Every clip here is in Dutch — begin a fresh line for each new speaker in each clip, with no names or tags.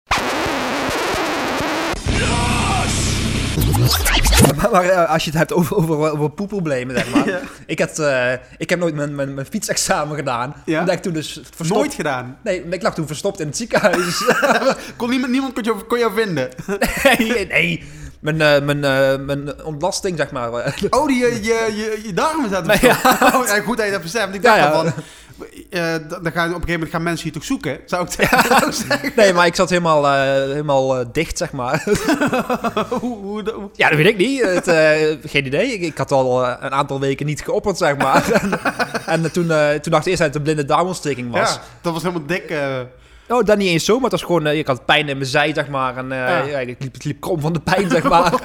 Maar, maar, eh, als je het hebt over, over, over poepproblemen, zeg maar.
Ja.
ik, had, eh, ik heb nooit mijn, mijn, mijn fietsexamen gedaan.
Ja?
Omdat ik toen dus verstopt...
Nooit gedaan.
Nee, ik lag toen verstopt in het ziekenhuis.
Kon niemand, niemand kon, jou, kon jou vinden.
nee, nee. Mijn, eh, mijn, eh, mijn ontlasting, zeg maar. eh,
Oh, die, je, je, je, je darmen zaten
Nee,
verstopt. Oh, ja, goed dat je dat beseft. Ik
Ja,
dacht
ja.
al van... eh, dan gaan, op een gegeven moment gaan mensen je toch zoeken, zou ik zeggen.
Nee, maar ik zat helemaal, eh, helemaal eh, dicht, zeg maar.
Hoe- hoe- hoe-
ja, dat weet ik niet. Het, eh, geen idee. Ik, ik had al eh, een aantal weken niet geopperd, zeg maar. en eh, toen, eh, toen dacht ik eerst dat het een blinde darmontsteking was.
Ja, dat was helemaal dik. eh.
Oh, dat niet eens zo, maar het was gewoon... eh, ik had pijn in mijn zij, zeg maar. En eh,
Ja.
ja, ik liep, ik liep krom van de pijn, zeg maar.
hoe,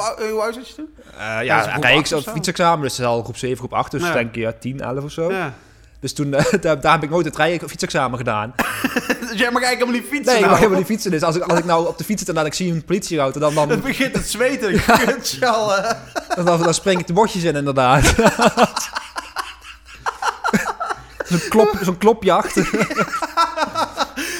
oud- hoe oud was je toen?
Eh,
Ja, dat is
ja,
groep
kijk, ik
acht of
zat
zo.
fietsexamen, dus dat is al groep 7, groep 8. Dus
Ja.
denk je, ja, 10, 11 of zo.
Ja.
Dus toen, eh, daar, daar heb ik nooit het rij- of fietsexamen gedaan.
Dus jij mag eigenlijk helemaal niet fietsen
Nee, ik
nou.
mag helemaal niet fietsen. Dus als ik, als ik nou op de fiets zit en dan ik zie een politieauto, dan, dan,
Het begint het zweten. Kutschal, eh.
Dan, dan, dan spring ik de bordjes in, inderdaad. Zo'n klop, zo'n klopjacht.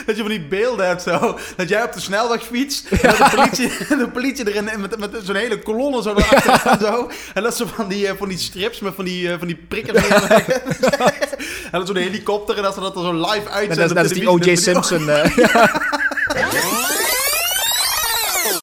Dat je van die beelden hebt zo. Dat jij op de snelweg fietst. En dat de politie, de politie erin en met, met zo'n hele kolonne zo erachter en zo. En dat ze van die, eh, van die strips met van die, eh, van die prikkers. erin. en dat zo'n helikopter en dat ze dat er zo live
En
uitzenden.
dat, is-
op
dat is die
televisie.
O.J.
Dat-
Simpson. eh.